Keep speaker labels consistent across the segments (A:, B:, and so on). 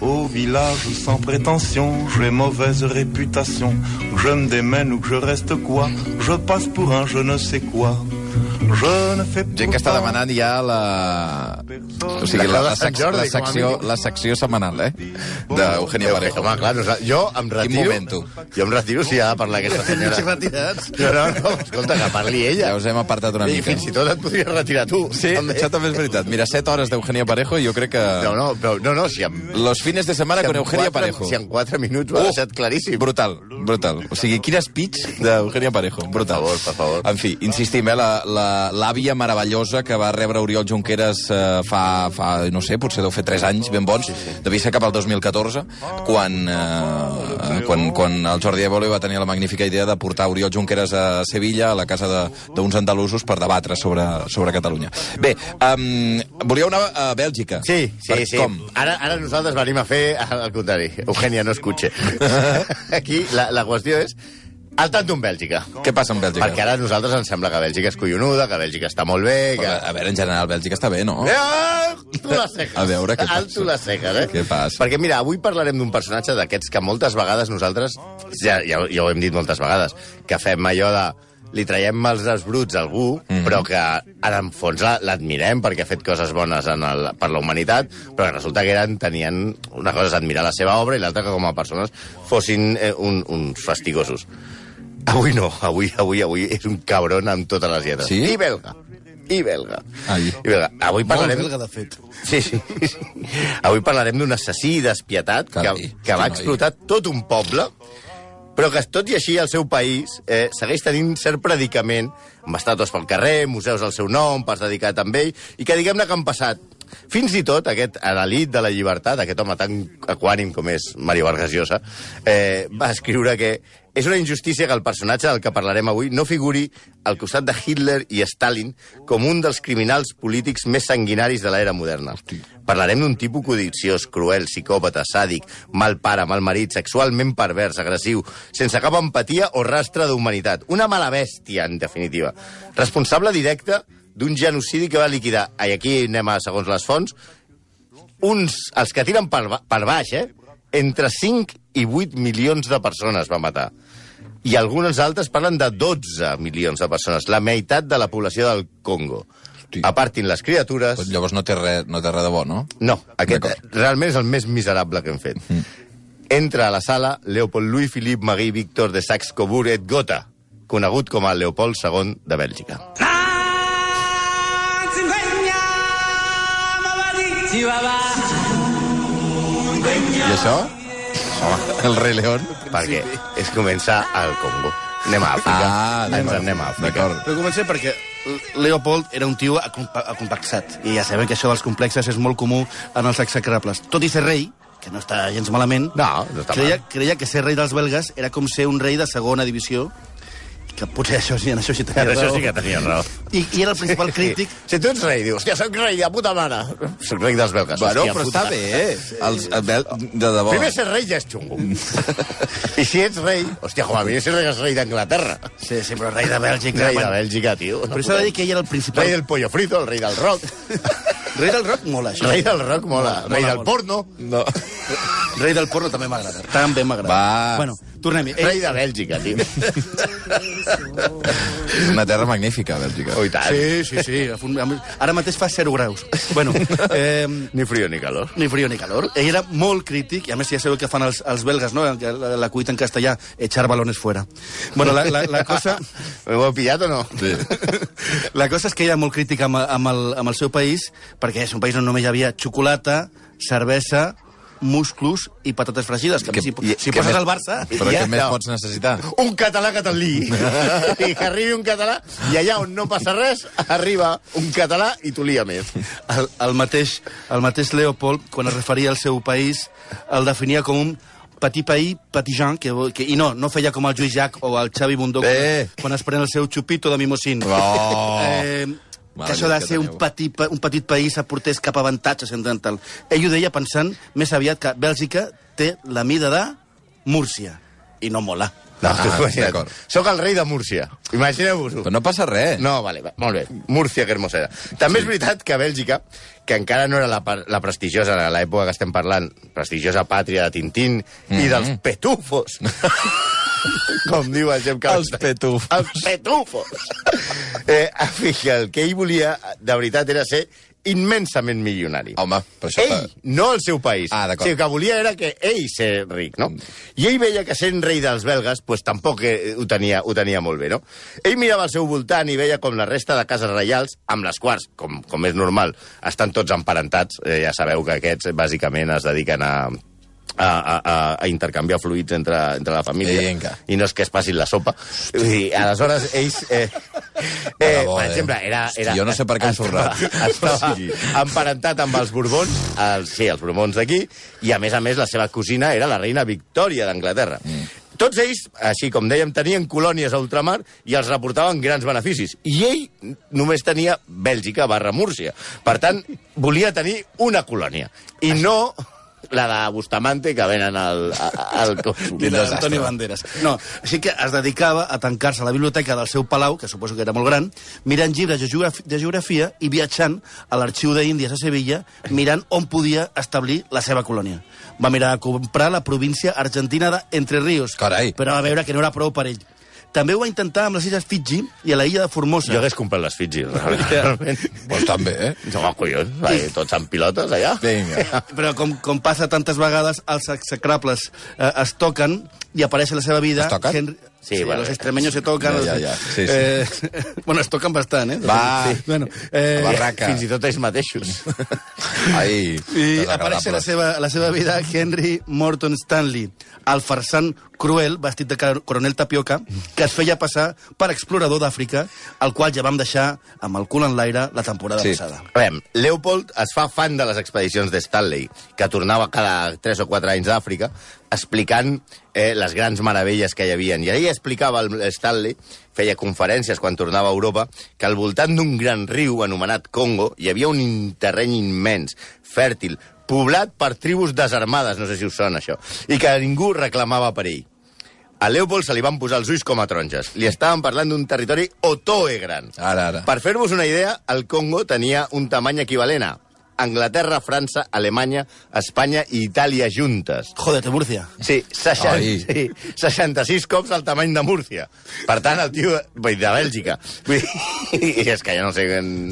A: Au village sans prétention, j'ai mauvaise réputation. Que je me démène ou que je reste quoi, je passe pour un je ne sais quoi. Je ne fais
B: Gent que està
A: pourtant
B: demanant ja la... O sigui, la, la, sec, la, secció, la secció setmanal, eh? D'Eugenia
C: Home,
B: Parejo.
C: clar, nosa- jo em retiro...
B: momento.
C: Jo em retiro si ha de parlar aquesta senyora. No, no, no, escolta, que parli
B: Ja
C: ella.
B: us hem apartat una
C: I
B: mica.
C: fins i tot et podries retirar tu.
B: Sí, això també és veritat. Mira, 7 hores d'Eugenia Parejo, jo crec que...
C: No, no, però, no, no, si amb...
B: Los fines de setmana
C: si
B: con
C: amb
B: Eugenia
C: quatre-
B: Parejo.
C: Si en 4 minuts ho ha
B: Uh!
C: deixat claríssim.
B: Brutal, brutal. O sigui, quin speech d'Eugenia Parejo. Brutal.
C: favor, per favor.
B: En fi, insistim, eh, l'àvia la, l'àvia meravellosa que va rebre Oriol Junqueras eh, fa, fa, no sé, potser deu fer 3 anys ben bons, devia ser cap al 2014, quan, eh, quan, quan el Jordi Évole va tenir la magnífica idea de portar Oriol Junqueras a Sevilla, a la casa de- d'uns andalusos, per debatre sobre, sobre Catalunya. Bé, um, volíeu anar a Bèlgica?
C: Sí, sí,
B: Per
C: sí.
B: Com?
C: Ara, ara nosaltres venim a fer al contrari. Eugenia, no escutxe. Aquí la, la qüestió és al tanto amb Bèlgica.
B: Què passa amb Bèlgica?
C: Perquè ara a nosaltres ens sembla que Bèlgica és collonuda, que Bèlgica està molt bé, que...
B: A veure, en general, Bèlgica està bé, no?
C: Eh, Alto les ceques.
B: A veure què passa.
C: Alto les ceques, eh?
B: Què passa?
C: Perquè, mira, avui parlarem d'un personatge d'aquests que moltes vegades nosaltres, ja, ja, ja ho hem dit moltes vegades, que fem allò de li traiem mals dels bruts a algú,
B: Mhm.
C: mm. però que en el fons la- l'admirem perquè ha fet coses bones en el, per la humanitat, però que resulta que eren, tenien... Una cosa és admirar la seva obra i l'altra que com a persones fossin eh, un, uns fastigosos. Avui no, avui, avui, avui és un cabron amb totes les lletres.
B: Sí?
C: I belga. I belga.
B: Ai.
C: I belga. Avui parlarem...
D: belga, de fet.
C: Sí, sí. Avui parlarem d'un assassí despietat que,
B: Carai,
C: que va
B: noi.
C: explotar tot un poble, però que, tot i així, el seu país eh, segueix tenint cert predicament, amb estàtues pel carrer, museus al seu nom, parts dedicats amb ell, i que diguem-ne que han passat fins i tot aquest analit de la llibertat, aquest home tan aquànim com és Mario Vargas Llosa, eh, va escriure que és una injustícia que el personatge del que parlarem avui no figuri al costat de Hitler i Stalin com un dels criminals polítics més sanguinaris de l'era moderna. Parlarem d'un tipus codiciós, cruel, psicòpata, sàdic, mal pare, mal marit, sexualment pervers, agressiu, sense cap empatia o rastre d'humanitat. Una mala bèstia, en definitiva. Responsable directe d'un genocidi que va liquidar, i aquí anem a segons les fonts, uns, els que tiren per, ba- per baix, eh? entre 5 i 8 milions de persones va matar. I algunes altres parlen de 12 milions de persones, la meitat de la població del Congo.
B: Hosti.
C: Apartin les criatures...
B: Doncs Llavors no té res, no té res de bo, no?
C: No, aquest
B: D'acord. Mm.
C: realment és el més miserable que hem fet. Entra a la sala Leopold Louis Philippe Marie Victor de Saxe-Cobourg et Gotha, conegut com a Leopold II de Bèlgica.
B: I això? El rei León?
C: Perquè es comença al Congo. Anem a Àfrica.
B: Ah,
C: Ens
B: d'acord.
C: anem a Àfrica.
B: D'acord.
D: Però comencem perquè Leopold era un tio acom- acomplexat. I ja sabeu que això dels complexes és molt comú en els execrables. Tot i ser rei, que no està gens malament,
C: No, no està
D: creia,
C: mal.
D: creia que ser rei dels belgues era com ser un rei de segona divisió, que potser això sí, en això sí tenia
C: En això
D: raó.
C: sí que tenia raó.
D: I, I era el principal crític
C: Si tu ets rei, dius, hòstia, soc rei de puta mare. Soc rei dels belgues.
B: Bueno,
C: hòstia
B: però
C: puta.
B: està bé. Els, el, Bel- de
D: Oh.
B: debò.
C: Primer ser rei ja és xungo. I si ets rei, hòstia, com a mínim si ets rei d'Anglaterra.
D: Sí, sí, però rei de Bèlgica.
C: Rei de
D: bueno.
C: Bèlgica, tio.
D: Però s'ha de dir que ell era el principal...
C: Rei del pollo frito, el rei del rock.
D: rei del rock mola, això.
C: rei del rock mola.
D: Mola,
C: Rei
D: mola,
C: del
D: mola.
C: porno.
B: No.
D: Rei del porno també m'agrada. També m'agrada.
B: Va.
D: Bueno, tornem-hi. Ell-
C: Rei de Bèlgica, tio.
B: És una terra magnífica, Bèlgica.
C: Oh, i tant.
D: Sí, sí, sí. agafa un- a més, Ara mateix fa 0 graus. Bueno, eh,
C: Ni frío ni calor.
D: ni frío ni calor. Ell era molt crític, i a més ja sabeu que fan els, els belgues, no? Que La, la cuita en castellà, echar balones fuera. Bueno, la, la, la cosa...
C: Ho heu pillat o no?
B: Sí.
D: La cosa és que era molt crític amb, amb, el, amb el seu país, perquè és un país on només hi havia xocolata, cervesa, musclos i patates fregides. Que,
B: Que-
D: que si,
B: i-
D: si
B: que
D: poses
B: més-
D: al Barça...
B: Però
C: Ja,
B: què més
C: no.
B: pots necessitar?
C: Un català catalí. I que arribi un català, i allà on no passa res, arriba un català i tu lia més.
D: El, el, mateix, el mateix Leopold, quan es referia al seu país, el definia com un petit país, petit Jean, que, que, i no, no feia com el Lluís Jack o el Xavi Bundó
B: Eh.
D: quan, quan es pren el seu xupito de mimosín.
B: No.
D: Eh,
B: Mare
D: que això de
B: meva, que
D: ser un
B: teniu.
D: petit, pa- un petit país aportés cap avantatge central. Ell ho deia pensant més aviat que Bèlgica té la mida de Múrcia, i no mola.
C: No,
B: Ah,
C: imagina't.
B: d'acord.
C: Soc el rei de Múrcia. Imagineu-vos-ho.
B: Però no passa res.
C: No, vale, va, molt bé. Múrcia, que hermosa era. També és veritat que Bèlgica, que encara no era la, par- la prestigiosa, a l'època que estem parlant, prestigiosa pàtria de Tintín i dels petufos. Com diu el Gem
B: Els petufos.
C: Els petufos. eh, fija, el que ell volia, de veritat, era ser immensament milionari.
B: Home, però això...
C: Ell, no el seu país.
B: Ah, d'acord.
C: Sí, el que volia era que ell ser ric, no? I ell veia que sent rei dels belgues pues, tampoc eh, ho, tenia, ho tenia molt bé, no? Ell mirava al seu voltant i veia com la resta de cases reials, amb les quals, com, com és normal, estan tots emparentats. Eh, ja sabeu que aquests, bàsicament, es dediquen a, a, a, a- a intercanviar fluids entre, entre la família.
B: Vinga.
C: I no és que es passin la sopa. Vull dir, aleshores, ells... Eh, eh,
B: Bravo,
C: per
B: eh?
C: exemple, era...
B: Hosti,
C: era
B: jo no sé per què he
C: estava-
B: sorrat.
C: Estava,
B: Sí.
C: emparentat amb els Borbons, els, sí, els Borbons d'aquí, i a més a més la seva cosina era la reina Victòria d'Anglaterra. Mm. Tots ells, així com dèiem, tenien colònies a ultramar i els reportaven grans beneficis. I ell només tenia Bèlgica barra Múrcia. Per tant, volia tenir una colònia. I no la de Bustamante que venen al, a- al costum.
D: de Antonio Banderas. No, així que es dedicava a tancar-se a la biblioteca del seu palau, que suposo que era molt gran, mirant llibres de geograf- de geografia i viatjant a l'arxiu d'Índies a Sevilla, mirant on podia establir la seva colònia. Va mirar a comprar la província argentina d'Entre Ríos,
B: Carai.
D: però va veure que no era prou per ell. També ho va intentar amb les illes Fiji i a la illa de Formosa.
C: Jo hagués comprat les Fiji, realment.
B: Doncs també, eh?
C: No, collons, eh, tots amb pilotes allà.
B: Vinga.
D: Però com, com passa tantes vegades, els execrables eh, es toquen i apareix a la seva vida...
B: Es toquen?
D: Henry...
C: Sí,
D: Sí, sí
C: vale.
D: los extremeños se tocan...
B: Ja,
D: los-
B: ja, ja. Sí, sí.
D: Eh, bueno, es toquen bastant, eh?
B: Va.
D: Sí. Bueno, eh,
B: La barraca.
C: Fins i tot ells mateixos.
B: Ai,
D: I
B: desagradable.
D: apareix a la seva, a la seva vida Henry Morton Stanley, el farsant cruel, vestit de car- coronel tapioca, que es feia passar per explorador d'Àfrica, el qual ja vam deixar amb el cul en l'aire la temporada
B: Sí.
D: passada.
C: A veure, Leopold es fa fan de les expedicions de Stanley, que tornava cada 3 o 4 anys d'Àfrica, explicant eh, les grans meravelles que hi havia. I ell explicava el Stanley, feia conferències quan tornava a Europa, que al voltant d'un gran riu anomenat Congo hi havia un terreny immens, fèrtil, poblat per tribus desarmades, no sé si us sona això, i que ningú reclamava per ell. A Leopold se li van posar els ulls com a taronges. Li estaven parlant d'un territori otoe gran.
B: Ara, ara.
C: Per fer-vos una idea, el Congo tenia un tamany equivalent a Anglaterra, França, Alemanya, Espanya i Itàlia juntes.
D: Jódete, Murcia.
C: Sí, 60,
B: Ai.
C: sí, 66 cops el tamany de Múrcia. Per tant, el tio... Vull dir, de Bèlgica. Vull dir, I és que ja no sé... En...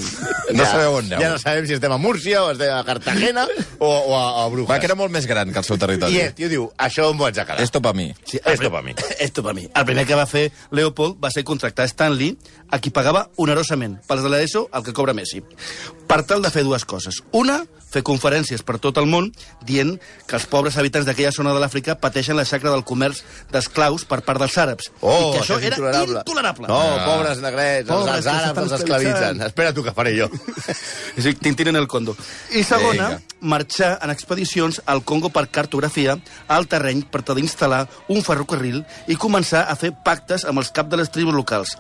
B: No sabeu on aneu.
C: Ja no sabem si estem a Múrcia o estem a Cartagena o, o a, a Brujas.
B: Va, que era molt més gran que el seu territori.
C: I el tio diu, això on vaig a quedar.
B: Esto pa mi.
C: Sí, esto pa mi.
D: Esto para mi. El primer que va fer Leopold va ser contractar Stanley, a qui pagava onerosament, pels de l'ESO, el que cobra Messi, per tal de fer dues coses. Una, fer conferències per tot el món dient que els pobres habitants d'aquella zona de l'Àfrica pateixen la xacra del comerç d'esclaus per part dels àrabs.
C: Oh,
D: I que això,
C: és
D: era
C: intolerable.
D: intolerable.
C: No,
B: Ah.
C: pobres negrets,
D: Pobres
C: pobres
D: que
C: els àrabs
D: s'estan
C: els esclavitzen.
D: esclavitzant.
C: Espera tu que faré jo.
D: És a dir, Tintín en el condo. I segona,
B: Vinga.
D: marxar en expedicions al Congo per cartografia al terreny per tal d'instal·lar un ferrocarril i començar a fer pactes amb els cap de les tribus locals.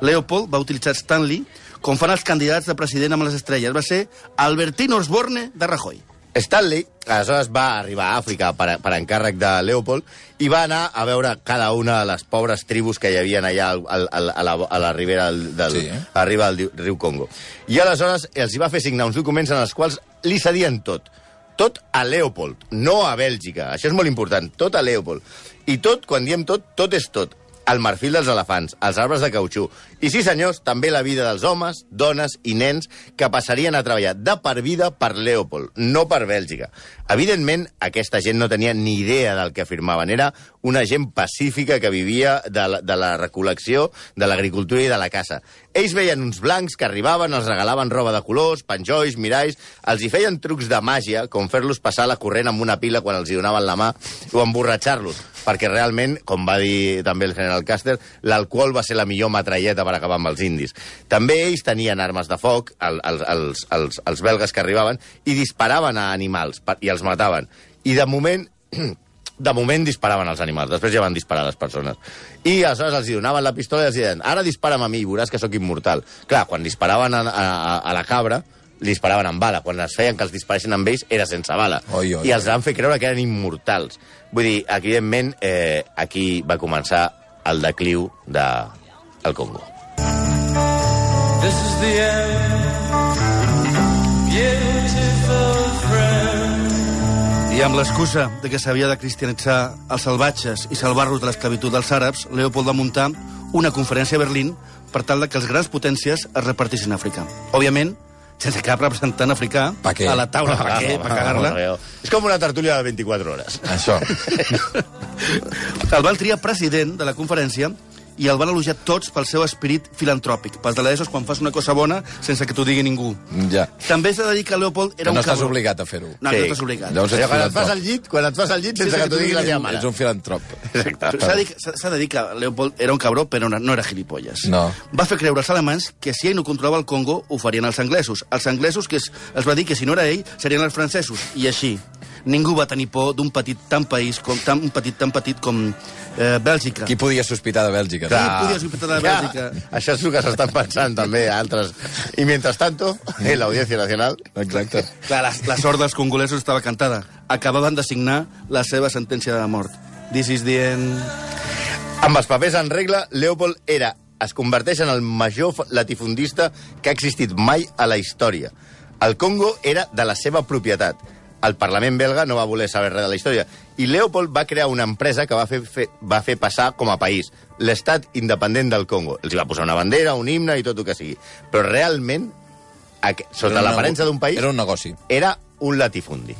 D: Leopold va utilitzar Stanley com fan els candidats de president amb les estrelles. Va ser Albertino Osborne de Rajoy.
C: Stanley, aleshores, va arribar a Àfrica per, per encàrrec de Leopold i va anar a veure cada una de les pobres tribus que hi havia allà al, al, al, a, la, a la ribera del, del,
B: Sí,
C: sí,
B: eh?
C: a la riba del diu- riu Congo. I aleshores els hi va fer signar uns documents en els quals li cedien tot. Tot a Leopold, no a Bèlgica. Això és molt important. Tot a Leopold. I tot, quan diem tot, tot és tot. El marfil dels elefants, els arbres de cautxú. I sí, senyors, també la vida dels homes, dones i nens que passarien a treballar de per vida per Leopold, no per Bèlgica. Evidentment, aquesta gent no tenia ni idea del que afirmaven. Era una gent pacífica que vivia de la, de la recol·lecció, de l'agricultura i de la caça. Ells veien uns blancs que arribaven, els regalaven roba de colors, penjolls, miralls, els hi feien trucs de màgia, com fer-los passar la corrent amb una pila quan els hi donaven la mà, o emborratxar-los, perquè realment, com va dir també el general Caster, l'alcohol va ser la millor matralleta per acabar amb els indis. També ells tenien armes de foc, el, el, els, els, els belgues que arribaven, i disparaven a animals per, i els mataven. I de moment de moment disparaven als animals, després ja van disparar a les persones. I aleshores els hi donaven la pistola i els hi deien ara dispara'm a mi, veuràs que sóc immortal. Clar, quan disparaven a, a, a la cabra, li disparaven amb bala. Quan es feien que els disparessin amb ells, era sense bala.
B: Oi, oi,
C: I els van fer creure que eren immortals. Vull dir, evidentment, eh, aquí va començar el decliu de el Congo.
E: This is the end, beautiful friend.
D: I amb l'excusa de que s'havia de cristianitzar els salvatges i salvar-los de l'esclavitud dels àrabs, Leopold va muntar una conferència a Berlín per tal de que les grans potències es repartissin a Àfrica. Òbviament, sense cap representant africà
B: Pa què?
D: a la taula, per què, per cagar-la.
C: És com una tertúlia de 24 hores.
B: Això.
D: El van triar president de la conferència i el van elogiar tots pel seu esperit filantròpic. Pels de l'ESO és quan fas una cosa bona sense que t'ho digui ningú.
B: Ja.
D: També s'ha de dir que Leopold era
B: Que no
D: un
B: estàs
D: cabró.
B: obligat a fer-ho.
D: No, sí.
C: Sí.
D: no estàs obligat.
B: Llavors
C: Allò,
B: ets
C: quan et fas
B: filantrop.
C: al llit, quan et fas al llit sense que t'ho digui la teva mare.
B: Ets un filantrop.
D: S'ha de, dir- s'ha- s'ha de dir que Leopold era un cabró, però no, no era gilipolles.
B: No.
D: Va fer creure als alemanys que si ell no controlava el Congo, ho farien els anglesos. Els anglesos que es, es va dir que si no era ell, serien els francesos. I així. Ningú va tenir por d'un petit tan país com tan, un petit tan petit com eh, Bèlgica.
B: Qui podia sospitar de Bèlgica?
D: Clar.
B: també?
D: podia sospitar de
C: Clar,
D: Bèlgica.
C: Ah. Això és el que s'estan pensant també altres. I mientras tanto, en l'Audiència Nacional...
B: Exacte.
D: Clar, la, la sort dels congolesos estava cantada. Acabaven de signar la seva sentència de mort. This is the end.
C: Amb els papers en regla, Leopold era es converteix en el major fa- latifundista que ha existit mai a la història. El Congo era de la seva propietat. El Parlament belga no va voler saber res de la història. I Leopold va crear una empresa que va fer, fer, va fer passar com a país, l'estat independent del Congo. Els hi va posar una bandera, un himne i tot el que sigui. Però realment, aqu-
B: Era
C: sota
B: un
C: l'aparença
B: nego-
C: d'un país,
B: Era un negoci.
C: era un latifundi.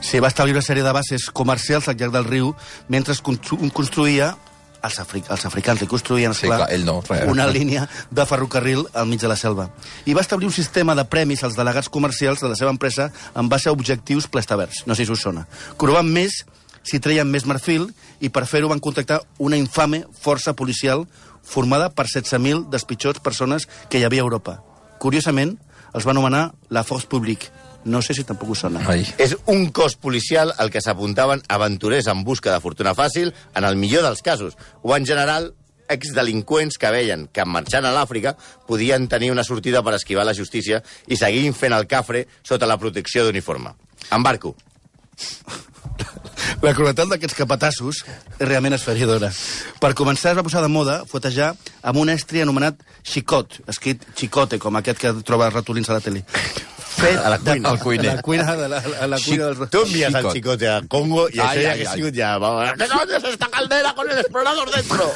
D: Se va establir una sèrie de bases comercials al llarg del riu mentre es constru- construïa els, afric els africans li construïen,
B: Sí,
D: esclar,
B: clar, ell no, res.
D: una línia de ferrocarril al mig de la selva. I va establir un sistema de premis als delegats comercials de la seva empresa en base a objectius plastavers, no sé si us sona. Corovant més si treien més marfil i per fer-ho van contractar una infame força policial formada per 16.000 des pitjors persones que hi havia a Europa. Curiosament, els va anomenar la Force Publique. No sé si tampoc us sona.
B: Ai.
C: És un cos policial al que s'apuntaven aventurers en busca de fortuna fàcil, en el millor dels casos, o en general exdelinqüents que veien que marxant a l'Àfrica podien tenir una sortida per esquivar la justícia i seguir fent el cafre sota la protecció d'uniforme. Embarco.
D: La crueltat d'aquests capatassos és realment esferidora. Per començar, es va posar de moda fotejar amb un estri anomenat xicot, escrit xicote, com aquest que trobes ratolins a la tele. Fet
C: A la cuina.
D: De,
B: Al cuiner.
D: A la cuina, de la, a la cuina dels...
C: Tu envies al
B: Xicot.
C: xicot a Congo i
B: Ai,
C: això ja
B: ai,
C: que ha
B: ai.
C: sigut ja... vamos, ¿Qué coño es esta caldera con el explorador dentro?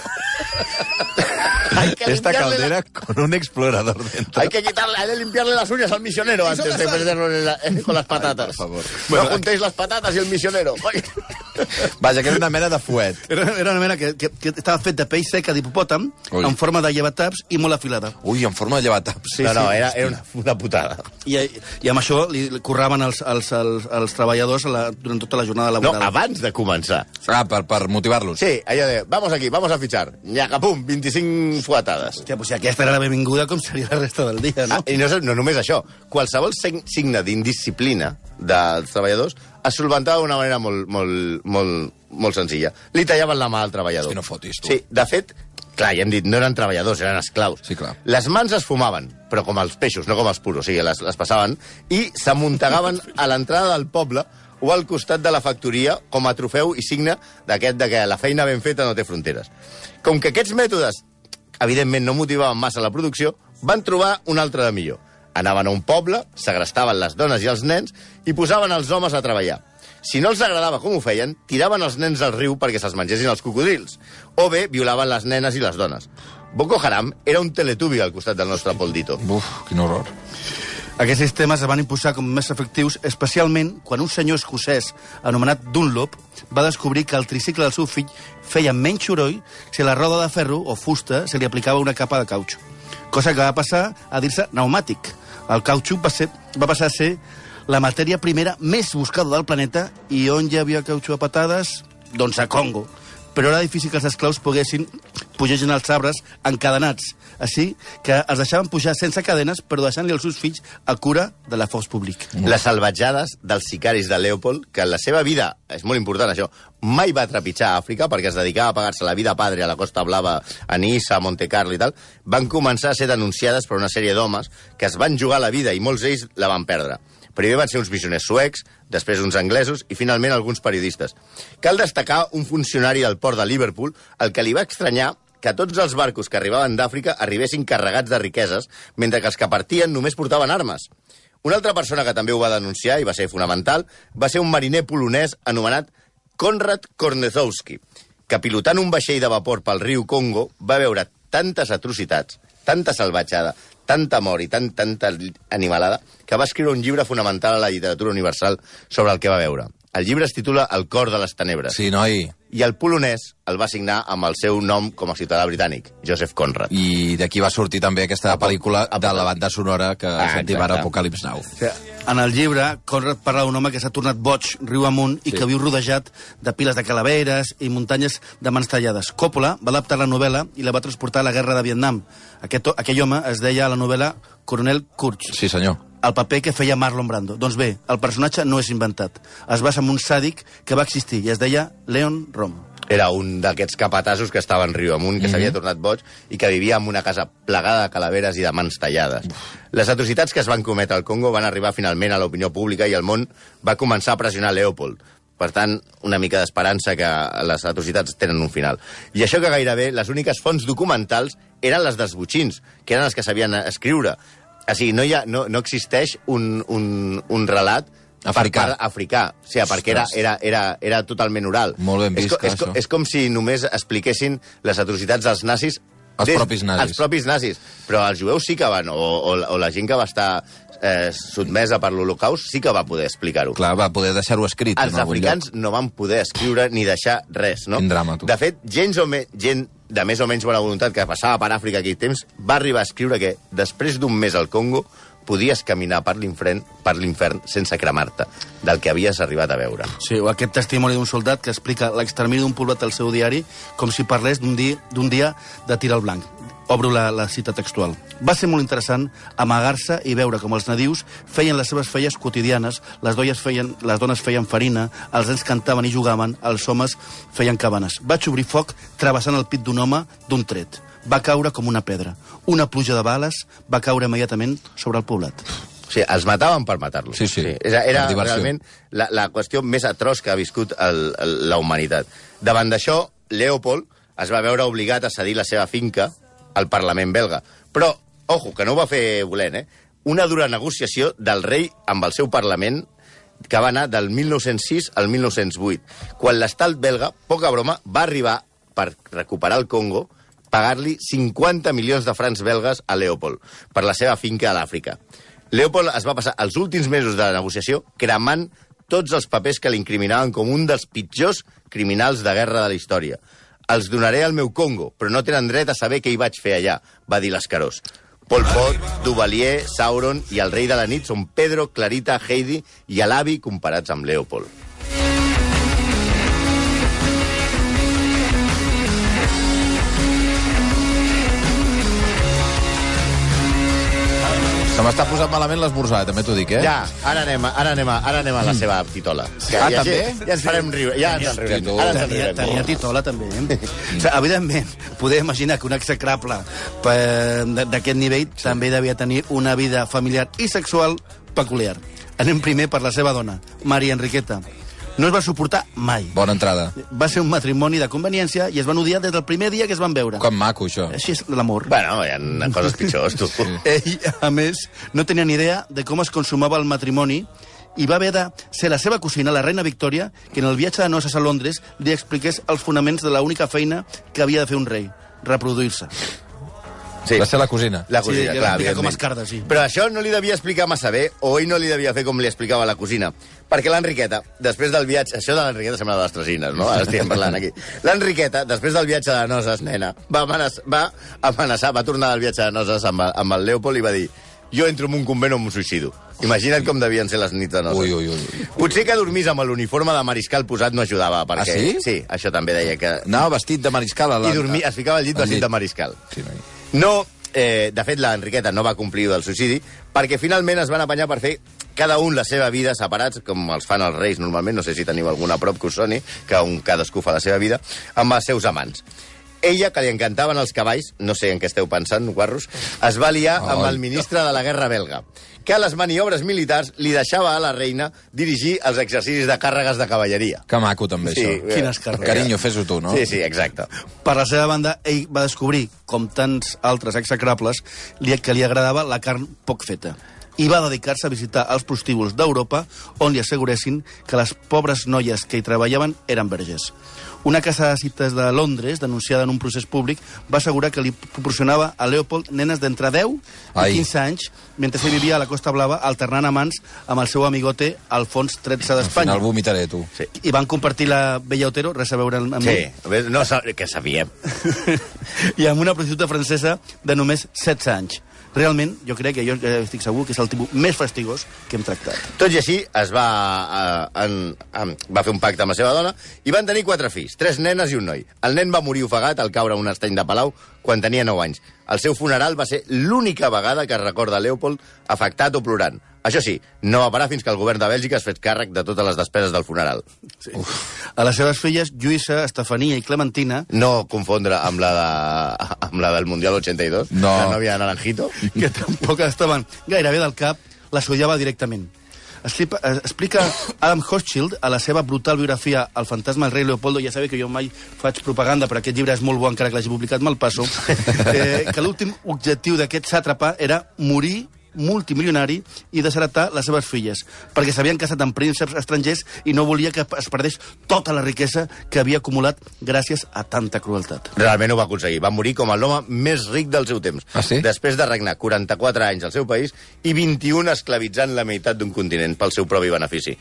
C: Hay que limpiarle la-
B: con un explorador dentro.
C: Hay que quitarle, hay que limpiarle las uñas al misionero antes de perderlo en la- eh, con las patatas.
B: por favor.
C: no juntéis las patatas y el misionero.
B: Vaja, que era una mena de fuet.
D: Era, era una mena que, que, que estava fet de pell seca d'hipopòtam,
B: Ui.
D: en forma de llevataps i molt afilada.
B: Ui, en forma de llevataps.
C: no, no, era, era una, una putada.
D: I, I amb això li li curraven els, els, els, els treballadors a la, durant tota la jornada
C: No,
D: laboral.
C: abans de començar.
B: Ah, per, per motivar-los.
C: Sí, allò de, vamos aquí, vamos a fichar. Nyaca, pum, 25 fuetades.
D: Hòstia, pues si aquesta era la benvinguda, com seria la resta del dia, no?
C: Ah, I no, és- no només això, qualsevol sen- signe d'indisciplina dels treballadors es solventava d'una manera molt, molt, molt, molt senzilla. Li tallaven la mà al treballador.
B: Hosti, no fotis, tu.
C: Sí, de fet, clar, ja hem dit, no eren treballadors, eren esclaus.
B: Sí, clar.
C: Les mans es fumaven, però com els peixos, no com els puros, o sigui, les, les passaven, i s'amuntegaven a l'entrada del poble o al costat de la factoria com a trofeu i signe d'aquest de que la feina ben feta no té fronteres. Com que aquests mètodes, evidentment, no motivaven massa la producció, van trobar un altre de millor. Anaven a un poble, segrestaven les dones i els nens i posaven els homes a treballar. Si no els agradava com ho feien, tiraven els nens al riu perquè se'ls mengessin els cocodrils. O bé, violaven les nenes i les dones. Boko Haram era un teletubi al costat del nostre Poldito.
B: Uf, quin horror.
D: Aquests sistemes es van impulsar com més efectius, especialment quan un senyor escocès anomenat Dunlop va descobrir que el tricicle del seu fill feia menys soroll si a la roda de ferro o fusta se li aplicava una capa de cautxo, cosa que va passar a dir-se pneumàtic. El cautxo va, ser, va passar a ser la matèria primera més buscada del planeta i on hi havia cautxo a patades? Doncs a Congo. Però era difícil que els esclaus poguessin pugessin als arbres encadenats. Així que els deixaven pujar sense cadenes, però deixant-li els seus fills a cura de la força pública.
C: Les salvatjades dels sicaris de Leopold, que en la seva vida, és molt important això, mai va trepitjar Àfrica perquè es dedicava a pagar-se la vida padre a la Costa Blava, a Niça, a Monte Carlo i tal, van començar a ser denunciades per una sèrie d'homes que es van jugar la vida i molts d'ells la van perdre. Primer van ser uns missioners suecs, després uns anglesos i finalment alguns periodistes. Cal destacar un funcionari del port de Liverpool el que li va estranyar que tots els barcos que arribaven d'Àfrica arribessin carregats de riqueses, mentre que els que partien només portaven armes. Una altra persona que també ho va denunciar i va ser fonamental va ser un mariner polonès anomenat Konrad Kornezowski, que pilotant un vaixell de vapor pel riu Congo va veure tantes atrocitats, tanta salvatjada, tanta mort i tant, tanta animalada, que va escriure un llibre fonamental a la literatura universal sobre el que va veure. El llibre es titula El cor de les tenebres.
B: Sí, noi.
C: I el polonès el va signar amb el seu nom com a ciutadà britànic, Joseph Conrad.
B: I d'aquí va sortir també aquesta pel·lícula
C: a-
B: de la banda sonora que
C: Ah,
B: ah, sentim ara
C: exacte.
B: Apocalips Now.
D: En el llibre, Conrad parla d'un home que s'ha tornat boig riu amunt i que viu rodejat de piles de calaveres i muntanyes de mans tallades. Coppola va adaptar la novel·la i la va transportar a la guerra de Vietnam. Aquest, aquell home es deia a la novel·la Coronel Kurtz
B: Sí, senyor.
D: el paper que feia Marlon Brando. Doncs bé, el personatge no és inventat. Es basa en un sàdic que va existir i es deia Leon Rom.
C: Era un d'aquests capatassos que estava en riu amunt, que s'havia
B: Mhm.
C: tornat boig i que vivia en una casa plegada de calaveres i de mans tallades. Les atrocitats que es van cometre al Congo van arribar finalment a l'opinió pública i el món va començar a pressionar Leopold. Per tant, una mica d'esperança que les atrocitats tenen un final. I això que gairebé les úniques fonts documentals eren les dels butxins, que eren les que sabien escriure. O sigui, no, hi ha, no, no existeix un, un, un relat per
B: Africà.
C: part- africà. O sigui, perquè era,
B: Ostres.
C: era, era, era totalment oral.
B: Molt ben
C: És
B: vist,
C: co- és,
B: clar,
C: co-
B: això.
C: és com si només expliquessin les atrocitats dels nazis
B: Els propis nazis.
C: Els propis nazis. Però els jueus sí que van, o, o, la- o la gent que va estar eh, sotmesa per l'Holocaust sí que va poder explicar-ho.
B: Clar, va poder deixar-ho escrit.
C: Els
B: en algun
C: africans no van poder escriure ni deixar res, no?
B: Quin drama, tu.
C: De fet, gens o me, gent de més o menys bona voluntat que passava per Àfrica aquell temps va arribar a escriure que després d'un mes al Congo podies caminar per l'infern per l'infern sense cremar-te del que havies arribat a veure.
D: Sí, o aquest testimoni d'un soldat que explica l'extermini d'un poblat al seu diari com si parlés d'un dia, d'un dia de tir al blanc. Obro la, la cita textual. Va ser molt interessant amagar-se i veure com els nadius feien les seves feies quotidianes, les, doies feien, les dones feien farina, els nens cantaven i jugaven, els homes feien cabanes. Vaig obrir foc travessant el pit d'un home d'un tret. Va caure com una pedra. Una pluja de bales va caure immediatament sobre el poblat.
C: O sigui, els mataven per matar-los.
B: Sí, sí,
C: Era, era
B: per diversió.
C: realment la, la qüestió més atroç que ha viscut el, el, la humanitat. Davant d'això, Leopold es va veure obligat a cedir la seva finca al Parlament belga. Però, ojo, que no ho va fer volent, eh? Una dura negociació del rei amb el seu Parlament que va anar del 1906 al 1908, quan l'estat belga, poca broma, va arribar per recuperar el Congo pagar-li 50 milions de francs belgues a Leopold per la seva finca a l'Àfrica. Leopold es va passar els últims mesos de la negociació cremant tots els papers que l'incriminaven com un dels pitjors criminals de guerra de la història. Els donaré al meu Congo, però no tenen dret a saber què hi vaig fer allà, va dir l'escarós. Pol Pot, Duvalier, Sauron i el rei de la nit són Pedro, Clarita, Heidi i Alavi comparats amb Leopold.
B: Lloc. Se m'està posant malament l'esmorzar, també t'ho dic, eh?
C: Ja, ara anem, a- ara anem, a- ara anem a la seva titola. Que
B: Ah,
C: ja,
B: també?
C: Ja, ja ens farem riure, ja ens en riurem. Ara ens en
D: Tenia,
C: riurem.
D: tenia titola, també. Eh? O sigui, evidentment, poder imaginar que un execrable eh, d- d'aquest nivell també devia tenir una vida familiar i sexual peculiar. Anem primer per la seva dona, Maria Enriqueta. No es va suportar mai.
B: Bona entrada.
D: Va ser un matrimoni de conveniència i es van odiar des del primer dia que es van veure.
B: Com maco, això.
D: Així és l'amor.
C: Bueno, hi ha coses pitjors, tu.
D: Ell, a més, no tenia ni idea de com es consumava el matrimoni i va haver de ser la seva cosina, la reina Victòria, que en el viatge de noces a Londres li expliqués els fonaments de l'única feina que havia de fer un rei, reproduir-se.
C: Sí.
B: Va ser la cosina.
C: La
D: Sí,
C: cosina,
D: que
C: clar,
D: la pica com
C: evidentment.
D: escarda, sí.
C: Però això no li devia explicar massa bé, o ell no li devia fer com li explicava la cosina. Perquè l'Enriqueta, després del viatge... Això de l'Enriqueta sembla de les tresines, no? Ara estiguem parlant aquí. L'Enriqueta, després del viatge de noces, nena, va amenaçar, va, amenaçar, va tornar del viatge de noces amb, el- amb el Leopold i va dir jo entro en un convent o em suïcido. Imagina't com devien ser les nits de noces.
B: Ui, ui, ui.
C: Potser que dormís amb l'uniforme de mariscal posat no ajudava, perquè...
B: Ah, sí?
C: Sí, això també deia que...
B: Anava vestit de mariscal a la...
C: I dormir, es ficava al llit vestit de mariscal.
B: Sí, noi.
C: No, eh, de fet, l'Enriqueta no va complir del suïcidi, perquè finalment es van apanyar per fer cada un la seva vida separats, com els fan els reis normalment, no sé si teniu alguna a prop que us soni, que un cadascú fa la seva vida, amb els seus amants. ella, que li encantaven els cavalls, no sé en què esteu pensant, guarros, es va liar amb
B: Ai.
C: el ministre de la Guerra belga, que a les maniobres militars li deixava a la reina dirigir els exercicis de càrregues de cavalleria. eh.
B: Que maco, també, això.
D: Quines carreres.
B: Carinyo, fes-ho tu, no?
C: Sí, sí, exacte.
D: Per la seva banda, ell va descobrir, com tants altres execrables, li- que li agradava la carn poc feta i va dedicar-se a visitar els prostíbuls d'Europa on li asseguressin que les pobres noies que hi treballaven eren verges. Una casa de cites de Londres, denunciada en un procés públic, va assegurar que li proporcionava a Leopold nenes d'entre 10
B: Ai.
D: i 15 anys mentre ell vivia a la Costa Blava alternant amants amb el seu amigote Alfons XIII
B: Al final
D: d'Espanya.
B: vomitaré, tu.
C: Sí.
D: I van compartir la Bella Otero, res a veure amb amb
C: Sí,
D: ell,
C: a veure, no, sa- que sabíem.
D: i amb una prostituta francesa de només 16 anys. Realment, jo crec que jo eh, estic segur que és el tipus més fastigós que hem tractat.
C: Tot i així, es va, eh, en, en, va fer un pacte amb la seva dona i van tenir quatre fills, tres nenes i un noi. El nen va morir ofegat al caure a un estany de Palau quan tenia 9 anys. El seu funeral va ser l'única vegada que es recorda Leopold afectat o plorant. Això sí, no va parar fins que el govern de Bèlgica es fet càrrec de totes les despeses del funeral.
D: Sí. A les seves filles, Lluïsa, Estefania i Clementina,
C: No confondre amb la, de, amb la del Mundial 82,
B: No.
C: la nòvia de Naranjito.
D: que tampoc estaven gairebé del cap, la sollava directament. Explica, eh, explica Adam Hochschild a la seva brutal biografia El fantasma del rei Leopoldo, ja sabeu que jo mai faig propaganda, però aquest llibre és molt bo, encara que l'hagi publicat mal passo, eh, que l'últim objectiu d'aquest sàtrapa era morir multimilionari i desheretar les seves filles, perquè s'havien casat amb prínceps estrangers i no volia que es perdés tota la riquesa que havia acumulat gràcies a tanta crueltat.
C: Realment ho va aconseguir. Va morir com l'home més ric del seu temps.
B: Ah, sí?
C: Després de regnar 44 anys al seu país i 21 esclavitzant la meitat d'un continent pel seu propi benefici.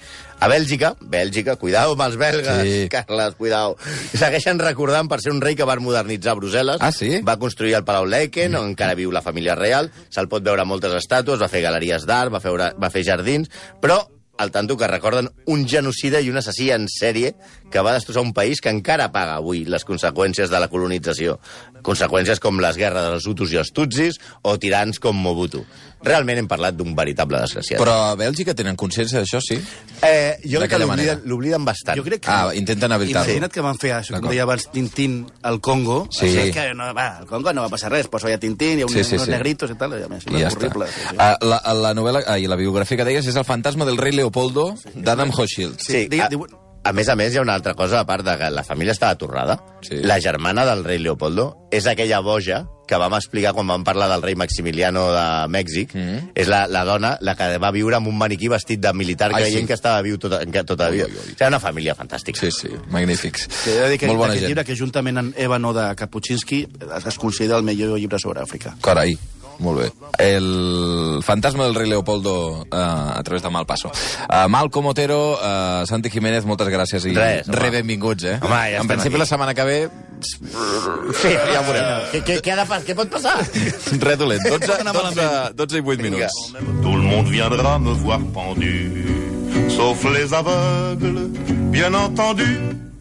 C: A Bèlgica, Bèlgica, cuidao amb els belgues,
B: Sí.
C: sí. Carles, cuidao. Segueixen recordant per ser un rei que va modernitzar Brussel·les.
B: Ah, sí?
C: Va construir el Palau Leiken, on encara viu la família real. Se'l pot veure a moltes estàtues, va fer galeries d'art, va, fer, va fer jardins, però al tanto que recorden un genocida i un assassí en sèrie que va destrossar un país que encara paga avui les conseqüències de la colonització. Conseqüències com les guerres dels Hutus i els Tutsis o tirans com Mobutu. Realment hem parlat d'un veritable desgraciat.
B: Però a Bèlgica tenen consciència d'això, sí?
C: eh, jo crec que
B: d'aquella
C: l'obliden-
B: manera.
C: l'obliden bastant.
D: Jo crec que...
B: Ah, intenten evitar-ho.
D: Imagina't que van fer això, com
B: D'acord.
D: deia abans, Tintín al Congo.
B: Sí.
D: O sigui, és que no, va, al Congo no va passar res, poso allà Tintín, hi ha un,
B: Sí, sí,
D: unos
B: sí.
D: negritos i tal, i a més,
B: I ja està.
D: horrible. Sí, sí.
B: Ah, la, la novel·la ah, i la biografia que deies és El fantasma del rei Leopoldo d'Adam Hochschild.
C: Sí,
D: Deia-
C: a,
D: diu-
C: a més a més, hi ha una altra cosa, a part de que la família estava aturrada.
B: Sí.
C: Sí. La germana del rei Leopoldo és aquella boja que vam explicar quan vam parlar del rei Maximiliano de Mèxic. Mm -hmm. És la, la dona la que va viure amb un maniquí vestit de militar
B: Ai,
C: Ai, creient
B: sí.
C: sí. que estava viu tota, que tota la vida.
B: Ui, ui, ui.
C: O sigui, una família fantàstica.
B: Sí, sí, magnífics.
D: Que he de dir que
B: Molt bona
D: aquest
B: gent.
D: llibre, que juntament amb Ébano de Kapuscinski, es es considera el millor llibre sobre Àfrica.
B: Carai, molt bé. El fantasma del rei Leopoldo eh, a través de Malpasso. Eh, Malcom Otero, eh, Santi Jiménez, moltes gràcies i
C: Res, home.
B: rebenvinguts, eh?
C: Home, ja estem
B: en principi
C: aquí.
B: la setmana que ve,
C: sí ja ho veurem. Què, què, què, ha de, pas- què pot passar?
B: re dolent. 12,
D: anar
B: 12, 12 i 8 minuts.
A: Tout le monde viendra me voir pendu, sauf les aveugles, bien entendu.